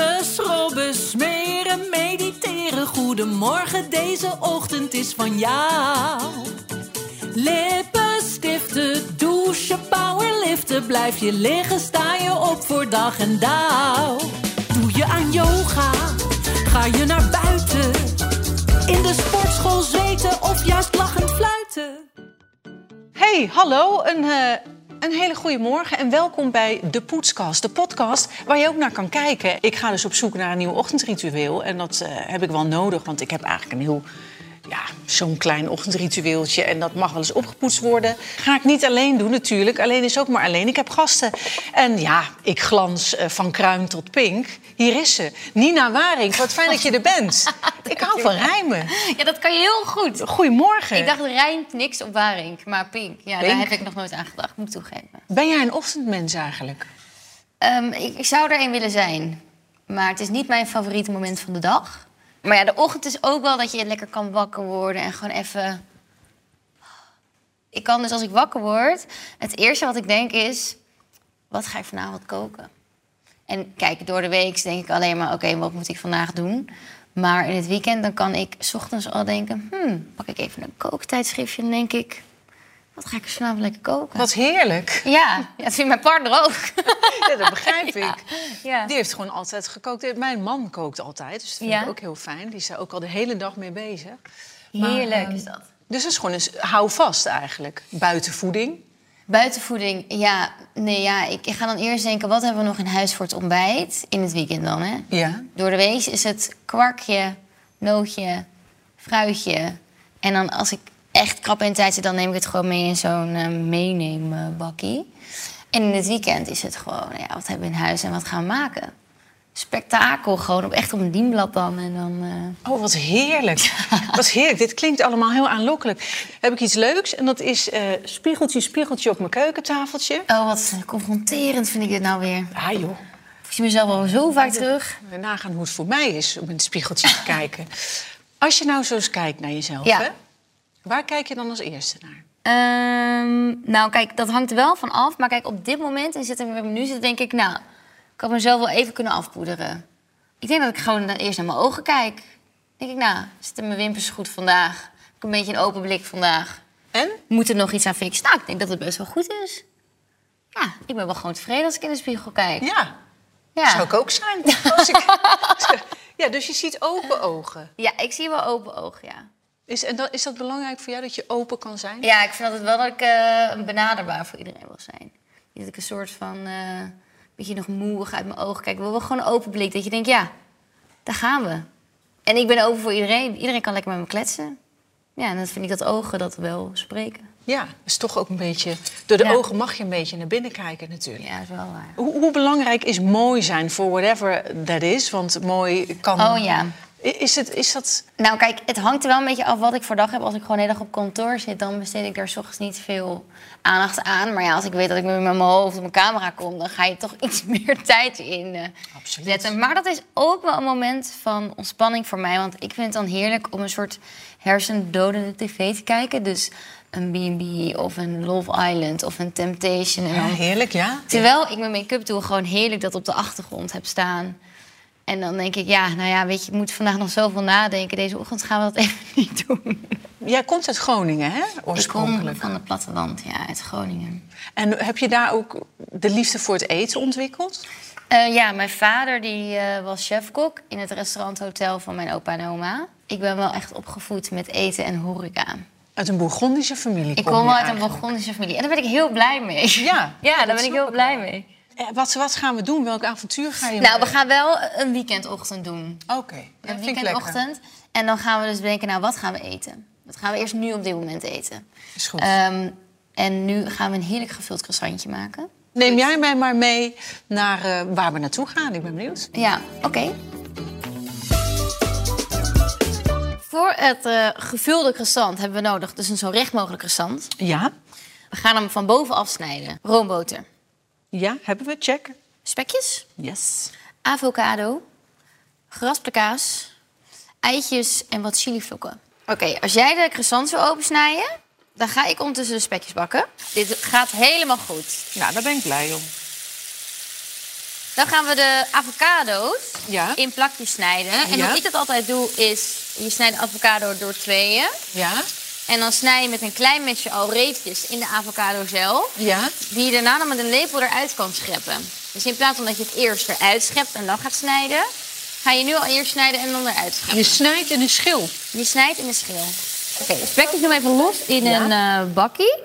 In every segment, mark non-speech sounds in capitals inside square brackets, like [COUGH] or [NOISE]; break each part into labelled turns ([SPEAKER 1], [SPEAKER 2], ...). [SPEAKER 1] Bijbel besmeren, mediteren. Goedemorgen, deze ochtend is van jou. Lippen stiften, douchen, powerliften. Blijf je liggen, sta je op voor dag en dauw. Doe je aan yoga, ga je naar buiten. In de sportschool zweten of juist lachend fluiten.
[SPEAKER 2] Hey, hallo. Een, eh, een hele goede morgen en welkom bij De Poetskast. De podcast waar je ook naar kan kijken. Ik ga dus op zoek naar een nieuw ochtendritueel. En dat eh, heb ik wel nodig, want ik heb eigenlijk een heel... Ja, zo'n klein ochtendritueeltje. En dat mag wel eens opgepoetst worden. Ga ik niet alleen doen natuurlijk. Alleen is ook maar alleen. Ik heb gasten. En ja, ik glans eh, van kruin tot pink. Hier is ze. Nina Waring, wat fijn dat je er
[SPEAKER 3] [LAUGHS]
[SPEAKER 2] bent. Ik hou van rijmen.
[SPEAKER 3] Ja, dat kan je heel goed.
[SPEAKER 2] Goedemorgen.
[SPEAKER 3] Ik dacht, rijmt niks op Waring, maar pink. Ja,
[SPEAKER 2] Pink?
[SPEAKER 3] daar heb ik nog nooit aan gedacht, moet ik toegeven.
[SPEAKER 2] Ben jij een ochtendmens eigenlijk?
[SPEAKER 3] Ehm, ik, ik zou er een willen zijn, maar het is niet mijn favoriete moment van de dag. Maar ja, de ochtend is ook wel dat je lekker kan wakker worden en gewoon even... Ik kan dus als ik wakker word, het eerste wat ik denk is... Wat ga ik vanavond koken? En kijk, door de week denk ik alleen maar, oké, wat moet ik vandaag doen? Maar in het weekend dan kan ik 's ochtends al denken... Hmm, pak ik even een kooktijdschriftje en denk ik... Wat ga ik dus vanavond lekker koken?
[SPEAKER 2] Wat heerlijk.
[SPEAKER 3] Ja, ja, dat vindt mijn partner ook. [LAUGHS]
[SPEAKER 2] Ja, dat begrijp ik.
[SPEAKER 3] Ja.
[SPEAKER 2] Die heeft gewoon altijd gekookt. Eh, Mijn man kookt altijd, dus dat vind
[SPEAKER 3] Ja.
[SPEAKER 2] ik ook heel fijn. Die is daar ook al de hele dag mee bezig.
[SPEAKER 3] Heerlijk is dat.
[SPEAKER 2] Dus dat is gewoon een hou vast eigenlijk. Buitenvoeding.
[SPEAKER 3] Buitenvoeding, ja, nee, ja ik, ik ga dan eerst denken, wat hebben we nog in huis voor het ontbijt? In het weekend dan, hè?
[SPEAKER 2] Ja.
[SPEAKER 3] Door de week is het kwarkje, nootje, fruitje. En dan als ik echt krap in tijd zit, dan neem ik het gewoon mee in zo'n eh, meeneembakkie. En in het weekend is het gewoon, ja, wat hebben we in huis en wat gaan we maken? Spektakel, gewoon op, echt op een dienblad dan. En dan eh,
[SPEAKER 2] Oh, wat
[SPEAKER 3] [LAUGHS]
[SPEAKER 2] heerlijk. Wat heerlijk. Dit klinkt allemaal heel aanlokkelijk. Heb ik iets leuks? En dat is eh, spiegeltje, spiegeltje op mijn keukentafeltje.
[SPEAKER 3] Oh, wat confronterend vind ik dit nou weer.
[SPEAKER 2] Ah joh.
[SPEAKER 3] Ik zie mezelf al zo vaak terug.
[SPEAKER 2] We nagaan hoe het voor mij is om in het spiegeltje [LAUGHS] te kijken. Als je nou zo eens kijkt naar jezelf,
[SPEAKER 3] Ja.
[SPEAKER 2] hè? waar kijk je dan als eerste naar?
[SPEAKER 3] Ehm, nou, kijk, dat hangt er wel van af. Maar kijk, op dit moment, en zitten we nu zitten, denk ik... nou, ik had mezelf wel even kunnen afpoederen. Ik denk dat ik gewoon dan eerst naar mijn ogen kijk. Dan denk ik, nou, zitten mijn wimpers goed vandaag? Heb ik een beetje een open blik vandaag?
[SPEAKER 2] En?
[SPEAKER 3] Moet er nog iets aan fixen? Nou, ik denk dat het best wel goed is. Ja, ik ben wel gewoon tevreden als ik in de spiegel kijk.
[SPEAKER 2] Ja,
[SPEAKER 3] Ja,
[SPEAKER 2] Zou ik ook
[SPEAKER 3] [LAUGHS]
[SPEAKER 2] zijn. Als ik... [LAUGHS] ja, dus je ziet open ogen.
[SPEAKER 3] ja ik zie wel open ogen, ja.
[SPEAKER 2] Is, en dat, is dat belangrijk voor jou, dat je open kan zijn?
[SPEAKER 3] Ja, ik vind altijd wel dat ik eh, benaderbaar voor iedereen wil zijn. Niet Dat ik een soort van eh beetje nog moeig uit mijn ogen kijk. Ik wil wel gewoon een open blik. Dat je denkt, ja, daar gaan we. En ik ben open voor iedereen. Iedereen kan lekker met me kletsen. Ja, en dan vind ik dat ogen dat wel spreken.
[SPEAKER 2] Ja, is toch ook een beetje... Door de
[SPEAKER 3] Ja.
[SPEAKER 2] ogen mag je een beetje naar binnen kijken natuurlijk.
[SPEAKER 3] Ja, dat is wel waar.
[SPEAKER 2] Hoe, hoe belangrijk is mooi zijn voor whatever that is? Want mooi kan...
[SPEAKER 3] Oh ja.
[SPEAKER 2] I- Is, het, is dat...
[SPEAKER 3] Nou, kijk, het hangt er wel een beetje af wat ik voor dag heb. Als ik gewoon de hele dag op kantoor zit, dan besteed ik daar 's ochtends niet veel aandacht aan. Maar ja, als ik weet dat ik met mijn hoofd op mijn camera kom, dan ga je toch [LAUGHS] iets meer tijd in eh,
[SPEAKER 2] Absoluut.
[SPEAKER 3] zetten. Maar dat is ook wel een moment van ontspanning voor mij. Want ik vind het dan heerlijk om een soort hersendodende tv te kijken. Dus een B&B of een Love Island of een Temptation. En dan
[SPEAKER 2] heerlijk, ja.
[SPEAKER 3] Terwijl ik mijn make-up doe, gewoon heerlijk dat op de achtergrond heb staan. En dan denk ik, ja, nou ja, weet je, ik moet vandaag nog zoveel nadenken. Deze ochtend gaan we dat even [LAUGHS] niet doen.
[SPEAKER 2] Jij komt uit Groningen, hè?
[SPEAKER 3] Ik kom
[SPEAKER 2] Oorspronkelijk.
[SPEAKER 3] van het platteland, ja, uit Groningen.
[SPEAKER 2] En heb je daar ook de liefde voor het eten ontwikkeld?
[SPEAKER 3] Eh, ja, mijn vader die, eh, was chefkok in het restauranthotel van mijn opa en oma. Ik ben wel echt opgevoed met eten en horeca.
[SPEAKER 2] Uit een Bourgondische familie
[SPEAKER 3] Ik
[SPEAKER 2] kom
[SPEAKER 3] kom
[SPEAKER 2] je
[SPEAKER 3] wel uit een
[SPEAKER 2] eigenlijk.
[SPEAKER 3] Burgondische familie. En daar ben ik heel blij mee. [LAUGHS]
[SPEAKER 2] Ja,
[SPEAKER 3] ja
[SPEAKER 2] dat
[SPEAKER 3] daar ben ik
[SPEAKER 2] snap
[SPEAKER 3] heel blij mee.
[SPEAKER 2] Eh, Wat, wat gaan we doen? Welk avontuur ga je
[SPEAKER 3] Nou, we
[SPEAKER 2] mee?
[SPEAKER 3] gaan wel een weekendochtend doen.
[SPEAKER 2] Oké, dat
[SPEAKER 3] Een
[SPEAKER 2] vind ik lekker.
[SPEAKER 3] weekendochtend. En dan gaan we dus denken, nou, wat gaan we eten? Wat gaan we eerst nu op dit moment eten?
[SPEAKER 2] Is goed.
[SPEAKER 3] Ehm, en nu gaan we een heerlijk gevuld croissantje maken.
[SPEAKER 2] Neem jij mij maar mee naar eh, waar we naartoe gaan. Ik ben benieuwd.
[SPEAKER 3] Ja, oké. Voor het eh, gevulde croissant hebben we nodig dus een zo recht mogelijk croissant.
[SPEAKER 2] Ja?
[SPEAKER 3] We gaan hem van boven afsnijden. Roomboter.
[SPEAKER 2] Ja, hebben we. Check.
[SPEAKER 3] Spekjes.
[SPEAKER 2] Yes.
[SPEAKER 3] avocado, geraspte kaas, eitjes en wat chilivlokken. Oké, als jij de croissants wil opensnijden, dan ga ik ondertussen de spekjes bakken. Dit gaat helemaal goed.
[SPEAKER 2] Nou, daar ben ik blij om.
[SPEAKER 3] Dan gaan we de avocado's
[SPEAKER 2] Ja.
[SPEAKER 3] in plakjes snijden. En
[SPEAKER 2] Ja.
[SPEAKER 3] hoe ik dat altijd doe, is je snijdt de avocado door tweeën.
[SPEAKER 2] Ja?
[SPEAKER 3] En dan snij je met een klein mesje al reepjes in de avocado zelf.
[SPEAKER 2] Ja?
[SPEAKER 3] Die je daarna dan met een lepel eruit kan scheppen. Dus in plaats van dat je het eerst eruit schept en dan gaat snijden... ga je nu al eerst snijden en dan eruit scheppen.
[SPEAKER 2] Je snijdt en een schil.
[SPEAKER 3] Je snijdt in de schil. Oké, het spek ik nu even los in een eh, bakkie.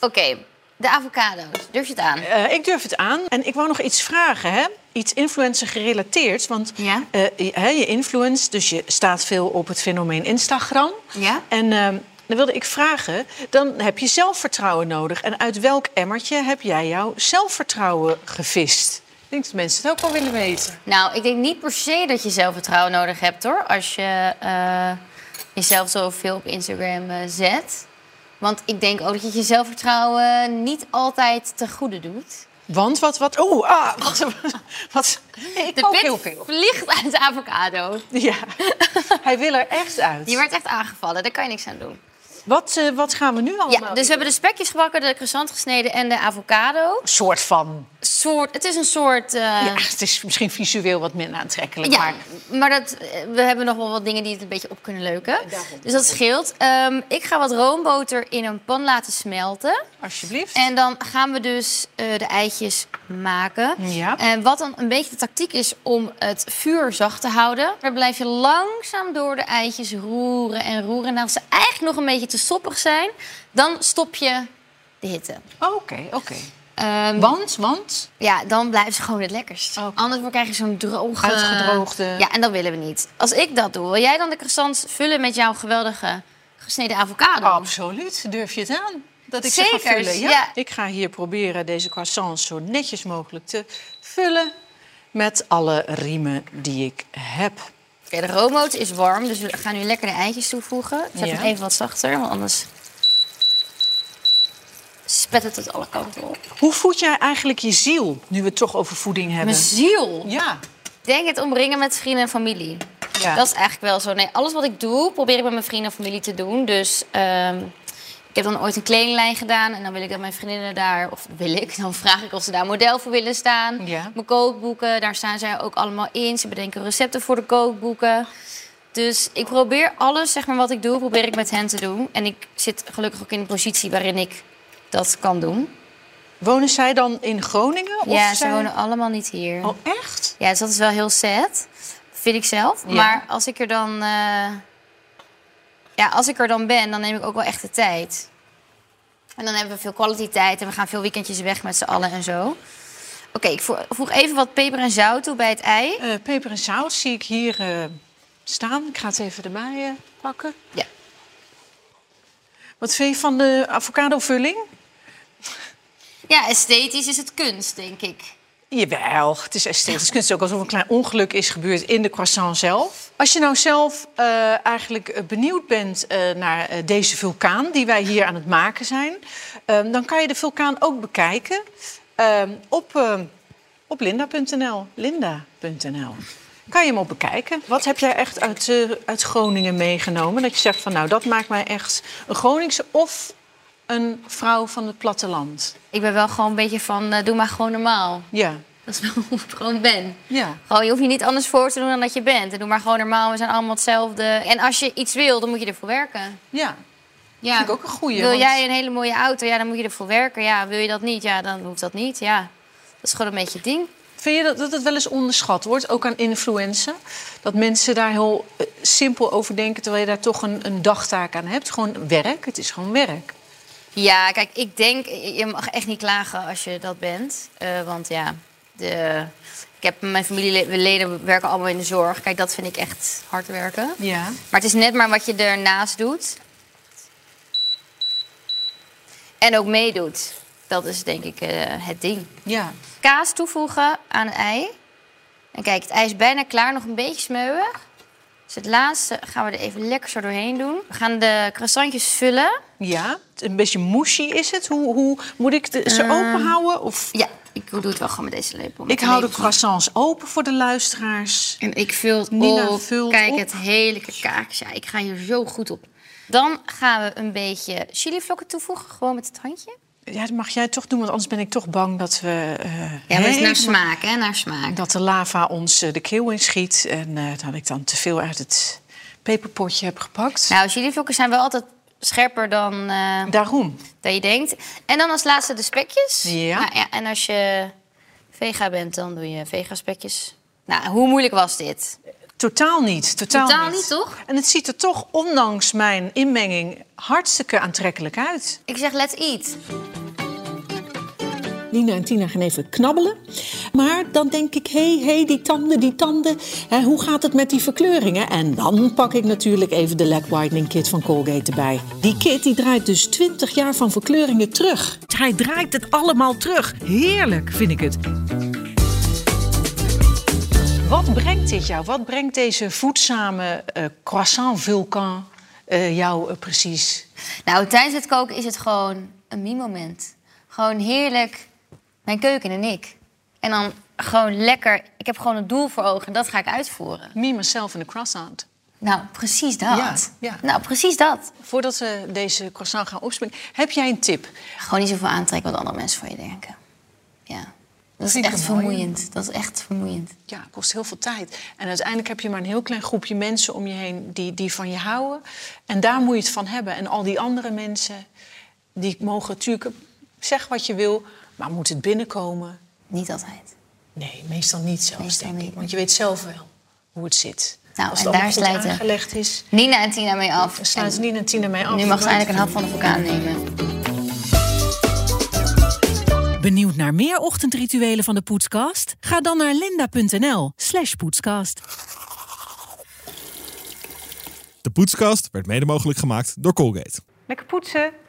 [SPEAKER 3] Oké, de avocado's. Durf je het aan?
[SPEAKER 2] Eh, ik durf het aan. En ik wou nog iets vragen, hè? Iets influencer gerelateerd. Want
[SPEAKER 3] Ja.
[SPEAKER 2] eh, je, hè, je influence, dus je staat veel op het fenomeen Instagram.
[SPEAKER 3] Ja.
[SPEAKER 2] En ehm, dan wilde ik vragen, dan heb je zelfvertrouwen nodig. En uit welk emmertje heb jij jouw zelfvertrouwen gevist? Ik denk dat mensen het ook wel willen weten.
[SPEAKER 3] Nou, ik denk niet per se dat je zelfvertrouwen nodig hebt hoor. Als je eh jezelf zoveel op Instagram eh, zet. Want ik denk ook dat je je zelfvertrouwen niet altijd ten goede doet.
[SPEAKER 2] Want wat, wat, oeh, ah, [LAUGHS] wat, wat. Nee, ik
[SPEAKER 3] De
[SPEAKER 2] kook
[SPEAKER 3] pit
[SPEAKER 2] heel veel.
[SPEAKER 3] vliegt uit de avocado.
[SPEAKER 2] Ja, hij wil er echt uit.
[SPEAKER 3] Die werd echt aangevallen, daar kan je niks aan doen.
[SPEAKER 2] Wat, eh, wat gaan we nu allemaal
[SPEAKER 3] Ja, dus we hebben de spekjes gebakken, de croissant gesneden en de avocado.
[SPEAKER 2] Een soort van.
[SPEAKER 3] Soort, het is een soort... eh,
[SPEAKER 2] Ja, het is misschien visueel wat minder aantrekkelijk.
[SPEAKER 3] Ja,
[SPEAKER 2] Maar
[SPEAKER 3] maar dat, eh, we hebben nog wel wat dingen die het een beetje op kunnen leuken. Dus dat scheelt. Ehm, ik ga wat roomboter in een pan laten smelten.
[SPEAKER 2] alsjeblieft.
[SPEAKER 3] En dan gaan we dus eh, de eitjes maken.
[SPEAKER 2] Ja.
[SPEAKER 3] En wat dan een beetje de tactiek is om het vuur zacht te houden. Dan blijf je langzaam door de eitjes roeren en roeren. En als ze eigenlijk nog een beetje te soppig zijn, dan stop je de hitte.
[SPEAKER 2] Oké, oké.
[SPEAKER 3] Ehm,
[SPEAKER 2] Want, want?
[SPEAKER 3] ja, dan blijven ze gewoon het lekkerst.
[SPEAKER 2] Oké.
[SPEAKER 3] Anders dan krijg je zo'n droge...
[SPEAKER 2] Uitgedroogde-
[SPEAKER 3] Ja, en dat willen we niet. Als ik dat doe, wil jij dan de croissants vullen met jouw geweldige gesneden avocado?
[SPEAKER 2] Absoluut, durf je het aan? Dat ik ze ga
[SPEAKER 3] Zekers,
[SPEAKER 2] vullen, ja?
[SPEAKER 3] ja.
[SPEAKER 2] Ik ga hier proberen deze croissants zo netjes mogelijk te vullen... met alle riemen die ik heb.
[SPEAKER 3] Oké, de roomboot is warm, dus we gaan nu lekker de eitjes toevoegen. Zet
[SPEAKER 2] Ja.
[SPEAKER 3] hem even wat zachter, want anders spet het het alle kanten op.
[SPEAKER 2] Hoe voed jij eigenlijk je ziel, nu we het toch over voeding hebben?
[SPEAKER 3] Mijn ziel!
[SPEAKER 2] Ja.
[SPEAKER 3] Ik denk het omringen met vrienden en familie.
[SPEAKER 2] Ja.
[SPEAKER 3] Dat is eigenlijk wel zo. Nee, alles wat ik doe, probeer ik met mijn vrienden en familie te doen. Dus ehm, ik heb dan ooit een kledinglijn gedaan. En dan wil ik dat mijn vriendinnen daar, of wil ik, [LAUGHS] dan vraag ik of ze daar model voor willen staan.
[SPEAKER 2] Ja.
[SPEAKER 3] Mijn kookboeken, daar staan zij ook allemaal in. Ze bedenken recepten voor de kookboeken. Dus ik probeer alles, zeg maar, wat ik doe, probeer ik met hen te doen. En ik zit gelukkig ook in een positie waarin ik dat kan doen.
[SPEAKER 2] Wonen zij dan in Groningen? Of
[SPEAKER 3] ja, ze
[SPEAKER 2] zij-
[SPEAKER 3] wonen allemaal niet hier.
[SPEAKER 2] Oh, echt?
[SPEAKER 3] Ja, dus dat is wel heel sad. Vind ik zelf.
[SPEAKER 2] Ja.
[SPEAKER 3] Maar als ik er dan... eh, ja, als ik er dan ben, dan neem ik ook wel echt de tijd. En dan hebben we veel kwaliteit en we gaan veel weekendjes weg met z'n allen en zo. Oké, ik vo- voeg even wat peper en zout toe bij het ei.
[SPEAKER 2] Eh, peper en zout zie ik hier eh, staan. Ik ga het even erbij eh, pakken.
[SPEAKER 3] Ja.
[SPEAKER 2] Wat vind je van de avocadovulling?
[SPEAKER 3] ja, esthetisch is het kunst, denk ik.
[SPEAKER 2] Jawel, het is esthetisch kunst. Het is ook alsof een klein ongeluk is gebeurd in de croissant zelf. Als je nou zelf eh, eigenlijk eh, benieuwd bent eh, naar eh, deze vulkaan die wij hier aan het maken zijn, ehm, dan kan je de vulkaan ook bekijken ehm, op, ehm, op linda.nl. Linda.nl. Kan je hem op bekijken? Wat heb jij echt uit, eh, uit Groningen meegenomen? Dat je zegt van nou, dat maakt mij echt een Groningse of een vrouw van het platteland.
[SPEAKER 3] Ik ben wel gewoon een beetje van, eh, doe maar gewoon normaal.
[SPEAKER 2] Ja,
[SPEAKER 3] Dat is wel [LAUGHS] hoe ik gewoon ben.
[SPEAKER 2] ja.
[SPEAKER 3] Gewoon, je hoeft je niet anders voor te doen dan dat je bent. En doe maar gewoon normaal, we zijn allemaal hetzelfde. En als je iets wil, dan moet je ervoor werken.
[SPEAKER 2] ja.
[SPEAKER 3] Ja.
[SPEAKER 2] Vind ik ook een goeie,
[SPEAKER 3] Wil
[SPEAKER 2] want-
[SPEAKER 3] jij een hele mooie auto? Ja, dan moet je ervoor werken. Ja, wil je dat niet? Ja, dan hoeft dat niet. Ja, dat is gewoon een beetje het ding.
[SPEAKER 2] Vind je dat, dat het wel eens onderschat wordt, ook aan influencer? Dat mensen daar heel eh, simpel over denken, terwijl je daar toch een, een dagtaak aan hebt? Gewoon werk, het is gewoon werk.
[SPEAKER 3] Ja, kijk, ik denk, je mag echt niet klagen als je dat bent. Eh, want ja, de, ik heb mijn familieleden werken allemaal in de zorg. Kijk, dat vind ik echt hard werken.
[SPEAKER 2] Ja.
[SPEAKER 3] Maar het is net maar wat je ernaast doet. En ook meedoet. Dat is denk ik eh, het ding.
[SPEAKER 2] Ja.
[SPEAKER 3] kaas toevoegen aan het ei. En kijk, het ei is bijna klaar, nog een beetje smeuig. Dus het laatste gaan we er even lekker zo doorheen doen. We gaan de croissantjes vullen.
[SPEAKER 2] Ja, een beetje mushy is het. Hoe, hoe moet ik de, ze open houden? Of...
[SPEAKER 3] Ja, ik doe het wel gewoon met deze lepel. met
[SPEAKER 2] Ik hou de
[SPEAKER 3] lepel.
[SPEAKER 2] croissants open voor de luisteraars.
[SPEAKER 3] En ik vul het
[SPEAKER 2] Nina
[SPEAKER 3] op.
[SPEAKER 2] vult
[SPEAKER 3] kijk,
[SPEAKER 2] op.
[SPEAKER 3] het heerlijke kaakje. Ja, ik ga hier zo goed op. Dan gaan we een beetje chilivlokken toevoegen, gewoon met het handje.
[SPEAKER 2] Ja, dat mag jij toch doen, want anders ben ik toch bang dat we... eh,
[SPEAKER 3] Ja, maar het is nou
[SPEAKER 2] helemaal-
[SPEAKER 3] naar smaak, hè? Naar smaak.
[SPEAKER 2] Dat de lava ons eh, de keel inschiet. En eh, dat ik dan te veel uit het peperpotje heb gepakt.
[SPEAKER 3] Nou, chilivlokken zijn wel altijd scherper dan eh,
[SPEAKER 2] Daarom.
[SPEAKER 3] dat je denkt. En dan als laatste de spekjes.
[SPEAKER 2] Ja.
[SPEAKER 3] Nou ja. En als je vega bent, dan doe je vega spekjes. Nou, hoe moeilijk was dit?
[SPEAKER 2] Totaal niet. Totaal,
[SPEAKER 3] Totaal niet, toch?
[SPEAKER 2] En het ziet er toch, ondanks mijn inmenging, hartstikke aantrekkelijk uit.
[SPEAKER 3] Ik zeg, let's eat.
[SPEAKER 4] Nina en Tina gaan even knabbelen. Maar dan denk ik, hé, hé, die tanden, die tanden. Hè, hoe gaat het met die verkleuringen? En dan pak ik natuurlijk even de leg whitening kit van Colgate erbij. Die kit die draait dus 20 jaar van verkleuringen terug.
[SPEAKER 1] Hij draait het allemaal terug. Heerlijk, vind ik het.
[SPEAKER 2] Wat brengt dit jou? Wat brengt deze voedzame eh, croissant-vulkaan eh, jou eh, precies?
[SPEAKER 3] Nou, tijdens het koken is het gewoon een mie-moment. Gewoon heerlijk. Mijn keuken en ik. En dan gewoon lekker. Ik heb gewoon een doel voor ogen en dat ga ik uitvoeren.
[SPEAKER 2] Me, myself en de croissant.
[SPEAKER 3] Nou, precies dat.
[SPEAKER 2] Ja, ja.
[SPEAKER 3] Nou, precies dat.
[SPEAKER 2] Voordat we deze croissant gaan opspringen, heb jij een tip?
[SPEAKER 3] Gewoon niet zoveel aantrekken wat andere mensen van je denken. Ja. Dat is
[SPEAKER 2] Vind ik
[SPEAKER 3] echt
[SPEAKER 2] een mooie.
[SPEAKER 3] vermoeiend. Dat is echt vermoeiend.
[SPEAKER 2] Ja, het kost heel veel tijd. En uiteindelijk heb je maar een heel klein groepje mensen om je heen die, die van je houden. En daar moet je het van hebben. En al die andere mensen, die mogen natuurlijk zeggen wat je wil, maar moet het binnenkomen?
[SPEAKER 3] Niet altijd.
[SPEAKER 2] Nee, meestal niet zelfs,
[SPEAKER 3] Meestal
[SPEAKER 2] denk ik.
[SPEAKER 3] niet.
[SPEAKER 2] Want je weet zelf wel hoe het zit.
[SPEAKER 3] Nou,
[SPEAKER 2] Als het
[SPEAKER 3] en
[SPEAKER 2] allemaal
[SPEAKER 3] daar
[SPEAKER 2] goed
[SPEAKER 3] sluiten-
[SPEAKER 2] aangelegd is,
[SPEAKER 3] Nina en Tina mee af.
[SPEAKER 2] dan sluiten
[SPEAKER 3] En
[SPEAKER 2] Nina en Tina mee af.
[SPEAKER 3] nu mag
[SPEAKER 2] Want-
[SPEAKER 3] ze eindelijk een hap van de vulkaan nemen.
[SPEAKER 1] Benieuwd naar meer ochtendrituelen van de Poetskast? Ga dan naar linda.nl slash poetskast.
[SPEAKER 5] De Poetskast werd mede mogelijk gemaakt door Colgate.
[SPEAKER 2] Lekker poetsen.